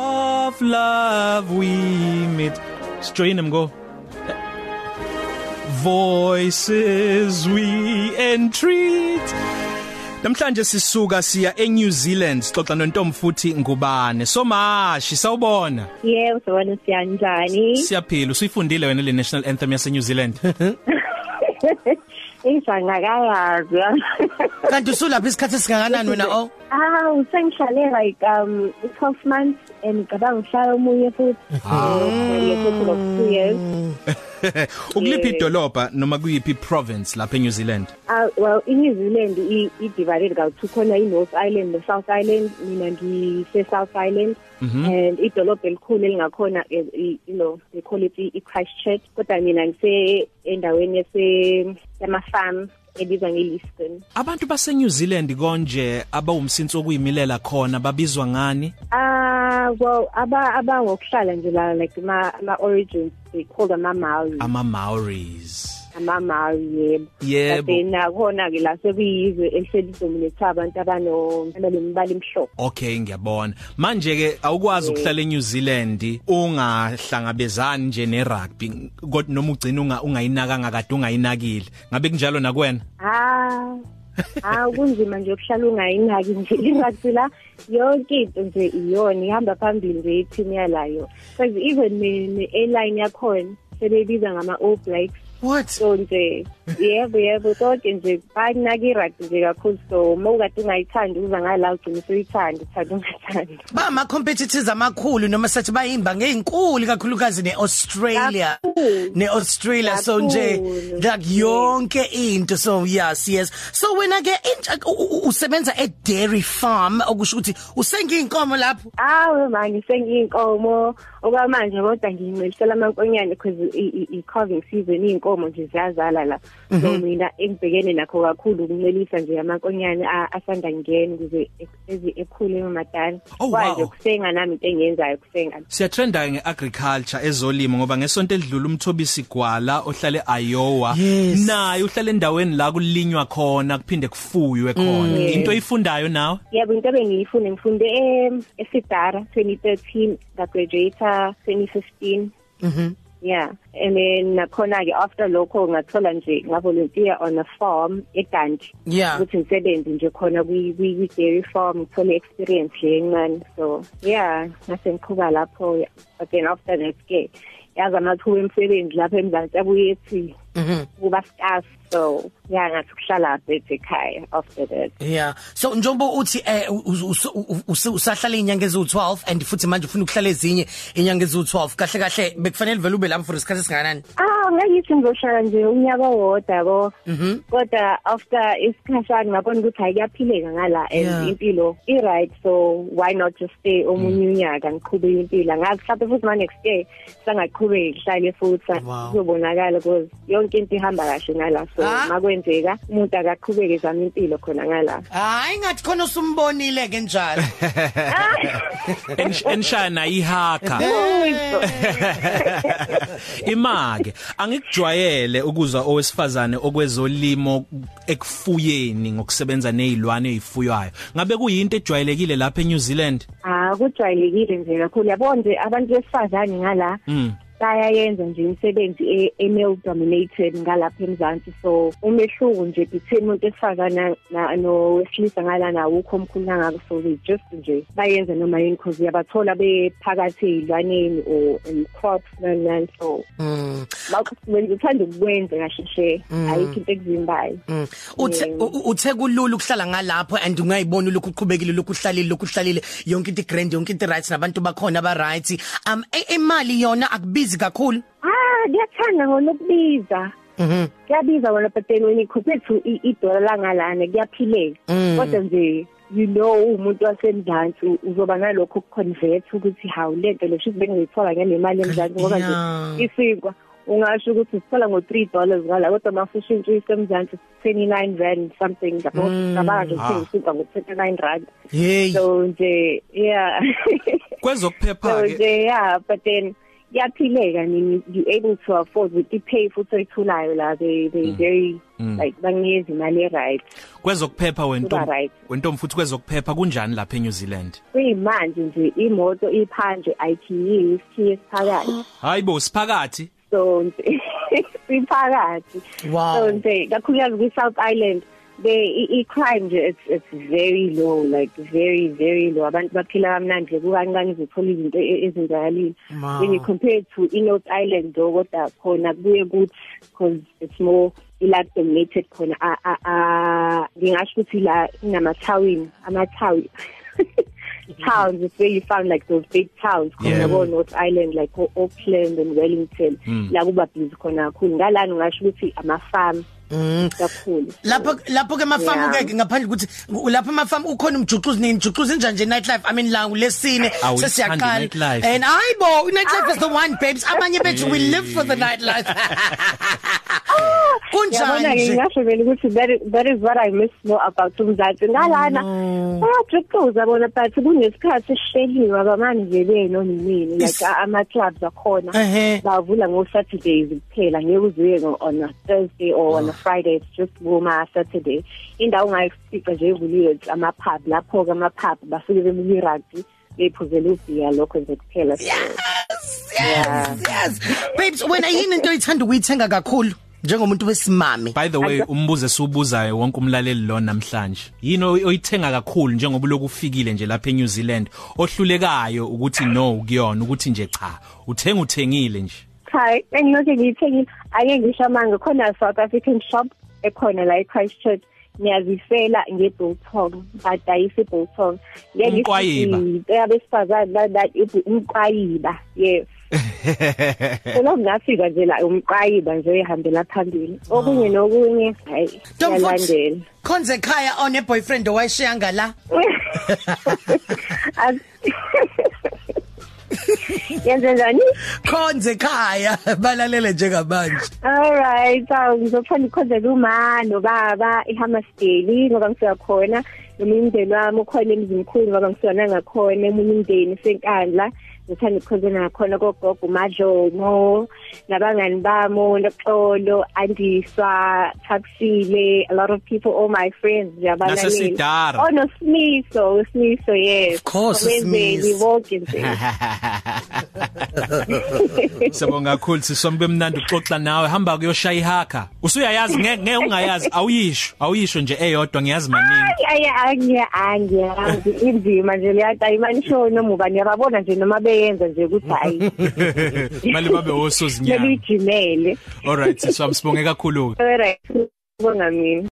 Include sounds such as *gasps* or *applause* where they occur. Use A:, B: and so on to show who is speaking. A: of love we meet strain mgo voices we entreat Namhlanje sisuka siya eNew Zealand sixoxa noNtombi futhi ngubane somashi sawubona
B: Yebo, sibona siyanjani.
A: siyaphila usuyifundile wena le national anthem yase New Zealand *laughs*
B: Injanga kayazi.
C: kanti usulapha isikhathi singakanani wena oh
B: *laughs* Ah, usengihlale like um 12 months and ngicabanga ngihlala omunye futhi. Ah.
A: ukuliphi idolobha noma kuyiphi province lapha eNew Zealand
B: Ah, well, iNew Zealand i i divided ka two khona iNorth Island neSouth Island, mina ngise South Island. and idolobha elikhulu elingakhona eh, i- you know they call it i- i-Christchurch kodwa mina ngise endaweni yase yamafarm ebizwa ngeLeaston
A: abantu base New Zealand konje abawumsinso okuyimilela khona babizwa ngani
B: Ah, well, aba abangokuhlala nje la like ma ama origins they call them amaMaori.
A: ama Maoris
B: AmaMaori yebo.
A: Yebo.
B: Then akona ke la sekuyizwe elisedominate abantu abano abalemibala emhlophe.
A: Okay ngiyabona manje ke awukwazi ukuhlala eNew Zealand ungahlangabezani nje nerugby kodwa noma ugcina unga ungayinaka ngakade ungayinakile ngabe kunjalo nakwena
B: Ah. Ah kunzima nje ukuhlala ungayinaki nje irugby la yonke into nje iyona ihamba phambili nje i-team yalayo because even ne, ne airline yakhona sebebiza ngama All Blacks
C: what
B: so nje yebo yebo konke nje banaki irugby nje kakhulu so uma ukade ungayithandi uza ngala ugcine usuyithanda uthanda ungathandi
C: ba ma competitors amakhulu noma sathi bayimba ngeinkulu kakhulukazi neAustralia
B: Kakhulu.
C: neAustralia so nje
B: Kakhulu.
C: like yonke into so yes yes so wena ke intsha u- u- usebenza e dairy farm okusho ukuthi usengiyinkomo lapho
B: awe manje sengiyinkomo okwamanje kodwa ngincelisela amankonyane because i-coving season iy'nkomo nje ziyazala la so
A: Mhm.
B: mina engibhekene nakho kakhulu ukuncelisa nje amankonyane a- asanda ngena ukuze ezi- ekhule emadala
A: Oh,
B: kwaje
A: wow.
B: kusenga nami into engiyenzayo kusenga
A: Siyatrenda ke ngeagriculture ezolimo ngoba ngesonto edlula umthobisi gwala ohlale Iowa
C: Yes.
A: naye uhlale endaweni la kulinywa khona kuphinde kufuywe khona
B: Mm.
A: into oyifundayo nawe
B: yebo into ebengiyifune ngifunde em- esidara 2013 ngagraduata 2015
C: mhm
B: Yeah, and then nakhona ke after lokho ngathola nje ngavolunteer on a farm eGanti.
C: Yeah.
B: Ukuthi ngisebenze nje khona kwi kwi dairy farm ngithole experience le encane. So, yeah, ngase ngiqhuba lapho but then after that ke yaza amathuba emsebenzi lapha eMzansi abuyethi
C: mhm
B: kuba staff. So, yeah, ngathi kuhlala phezu ekhaya after that.
C: yeah so njengoba uthi eh us- us- u- us- usahlala inyanga ezu12 and futhi manje ufuna ukuhlala ezinye inyanga ezu12 kahle kahle bekufanele vele ube lapho for isikhathi singakanani
B: Ah, ngayithi ngizoshaya nje unyaka wodwa yabo.
C: Mhm.
B: Kodwa after isikhashana ngabona ukuthi ayikaphileka ngala
C: Yeah.
B: and impilo i right so why not just stay
C: Mm.
B: omunye unyaka ngiqhubile impilo. Ngathi mhlawumbe futhi manje stay sangaqhubeki ngihlale futhi
C: Wow.
B: kuzobonakala because yonke into ihamba kahle ngala so
C: Ah.
B: makwenzeka umuntu akaqhubeke zama impilo khona ngala.
C: hayi ngathi khona usumbonile ke njalo
A: Ensh- enshana ihaka
B: *laughs*
A: imake angikujwayele ukuzwa owesifazane okwezolimo ekufuyeni ngokusebenza nezilwane ezifuywayo ngabe kuyinto ejwayelekile lapha eNew Zealand
B: Ah, kujwayelekile nje kakhulu yabo nje abantu besifazane ngala.
A: mm
B: bayayenza nje imisebenzi e-male dominated ngalapha eMzansi so umehluko nje between umuntu esifazana na- nowesilisa ngalana awukho omkhulu kangako so they just nje bayenza noma yini cause uyabathola bephakathi ey'lwaneni or in crops nani nani so
C: *laughs* Mm,
B: wena uthanda ukukwenza kahle she ayikho into ekuvimbayo
C: mm. uthe
B: Mm.
C: u- u- uthe kulula ukuhlala ngalapho and ungayibona lokhu uqhubekile lokhu uhlalile lokhu uhlalile yonke into grand yonke into right nabantu bakhona aba right um e- imali yona akubizi kakhulu
B: ah ngiyathanda ngona ukubiza
C: mhm
B: kuyabiza wona but then when ikhuphe to i- idola langalana kuyaphileka
C: Mm.
B: kodwa nje you know umuntu wasemzansi u- uzoba nalokho ukuconvert ukuthi hawu lento le shuthi bengizithola ngale mali emzansi ngoba nje
C: Yeah.
B: isinkwa ungasho ukuthi usithola ngo-three dollars ngala kodwa mafusha into isemzansi twenty-nine rand something ngabo ngabanga
A: Ah.
B: nje ukuthenga isinkwa ngo-twenty-nine rand
C: hey
B: so nje yeah *laughs*
A: kwezokuphepha
B: so
A: ke
B: nje yeah but then
C: Mm.
B: yaphileka nini you able to afford with the pay futhi oyitholayo la they they very like banginikeza imali e-right
A: kwezokuphepha
B: Kuba
A: wentombi
B: right.
A: wentombi futhi kwezokuphepha kunjani lapha eNew Zealand
B: kuyimanje nje imoto iphandle E, ayithiyiwe isithiye
C: *gasps*
B: esiphakathi
A: hayibo siphakathi
B: so nje *laughs* siphakathi
C: Wow.
B: so nje kakhulukazi kwi-south island they i- i-crime nje it's, it's very low like very very low abantu baphila kamnandi nje kukancane zithola izinto e- ezenzakalile
C: Wow.
B: when you compare to i-north island though kodwa khona kuye kuthi because it's more i-lab dominated khona A- a- a- ah, ngingasho ukuthi la kunamatawini amatawi *laughs* towns is where you found like those big towns khona
A: Yeah.
B: ko North Island like o- Auckland and Wellington la kuba busy khona kakhulu ngalani ngasho ukuthi ama farm kakhulu
C: lapho lapho ke mafamu
B: Yeah.
C: ke ngaphandle ukuthi lapho mafamu ukhona umjuxuzi nini juxuzi njani nje night life i mean la lesine
A: Awu,
C: sesiyaqala
A: ithandi nightlife.
C: and ayibo night life is the one babes abanye bethu we live for the night life
B: yabona
C: kunjani
B: ke
C: nje
B: ngasho vele ukuthi that is- that is what I miss more about umzansi ngalana bayadriktoza bona but kunesikhathi esihleliwe abamani nje beno nini
C: Is-
B: like a- ama clubs akhona
C: Ehhe.
B: bavula ngo Saturdays kuphela ngeke uzuye ngo- on a Thursday or
C: Ah.
B: on a Friday it's just goma Saturday indawo ungayifica nje evuliwe it's ama pub lapho ke ama pub basuke bebuka rugby bephuzela ubhiya lokho nje kuphela so
C: yes yes babes wena yini into oyithanda ukuyithenga kakhulu njengomuntu wesimame
A: by the way umbuzo esiwubuzayo wonke umlaleli lo namhlanje yini oy- oyithenga kakhulu njengoba lokufikile nje lapha eNew Zealand ohlulekayo ukuthi no kuyona ukuthi nje cha uthenga uthengile nje *laughs*
B: Hi, engilokhu ngiyithengile. Ake ngisho manje khona a South African shop ekhona la eChristchurch. Ngiyazifela ngebiltong, badayisa ibiltong. Ngeke
A: Umqwayiba.
B: Yabesifazane la that ithi umqwayiba. Yes. Selo ngafika nje la umqwayiba nje ehambela phambili. Okunye nokunye hayi.
C: Tom
B: Yalandela.
C: Fox konze ekhaya on a boyfriend owayishiya ngala
B: As- Yenze njani?
C: konze ekhaya balalele njengamanje
B: All right, so ngizophanda ikhonze uma nobaba eHammersdale ngoba ngisuka khona nomindeni wami ukhona emzimkhulu ngoba ngisuka nangakhona emunye imindeni senkandla ngithanda ikhonze nakhona kogogo uMajomo nabangani bami noxolo andiswa Thakusile a lot of people all my friends njabalaleli
A: Nasesidara.
B: oh no Smiso Smiso yes
C: Of course,
B: Wenzeni,
C: uSimiso.
B: Wilkinson.
A: Sibonga kakhulu sisombe bemnandi uxoxa nawe hamba kuyoshaya ihaka usuyayazi ngeke ngeke ungayazi awuyisho awuyisho nje eyodwa ngiyazi maningi
B: aya aya inzima nje leyatayimani show noma ubani yababona nje noma beyenza nje ukuthi hayi
A: mali babe
B: kumele
A: osozinyanga
B: uyijimele
A: all right siswam sibonge kakhulu
B: alright bonga mina